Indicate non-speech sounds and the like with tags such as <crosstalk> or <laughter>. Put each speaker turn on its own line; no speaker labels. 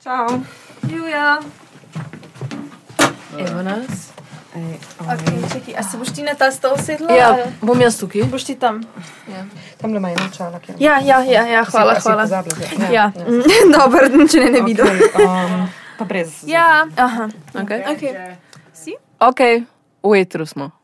Ciao.
Julia.
Evo nas.
Ej,
Okay, čekaj, a se boš ti na ta stol sedla? Ja.
Ja, bom jaz tukaj.
Boš ti tam?
Tam le ima eno čalo, ki
Ja, ja, ja, ja hvala, hvala. Ja, <laughs> dobro, če ne, ne vidim.
Um, pa brez.
Ja, aha.
Okay.
Okay.
ok, v etru smo.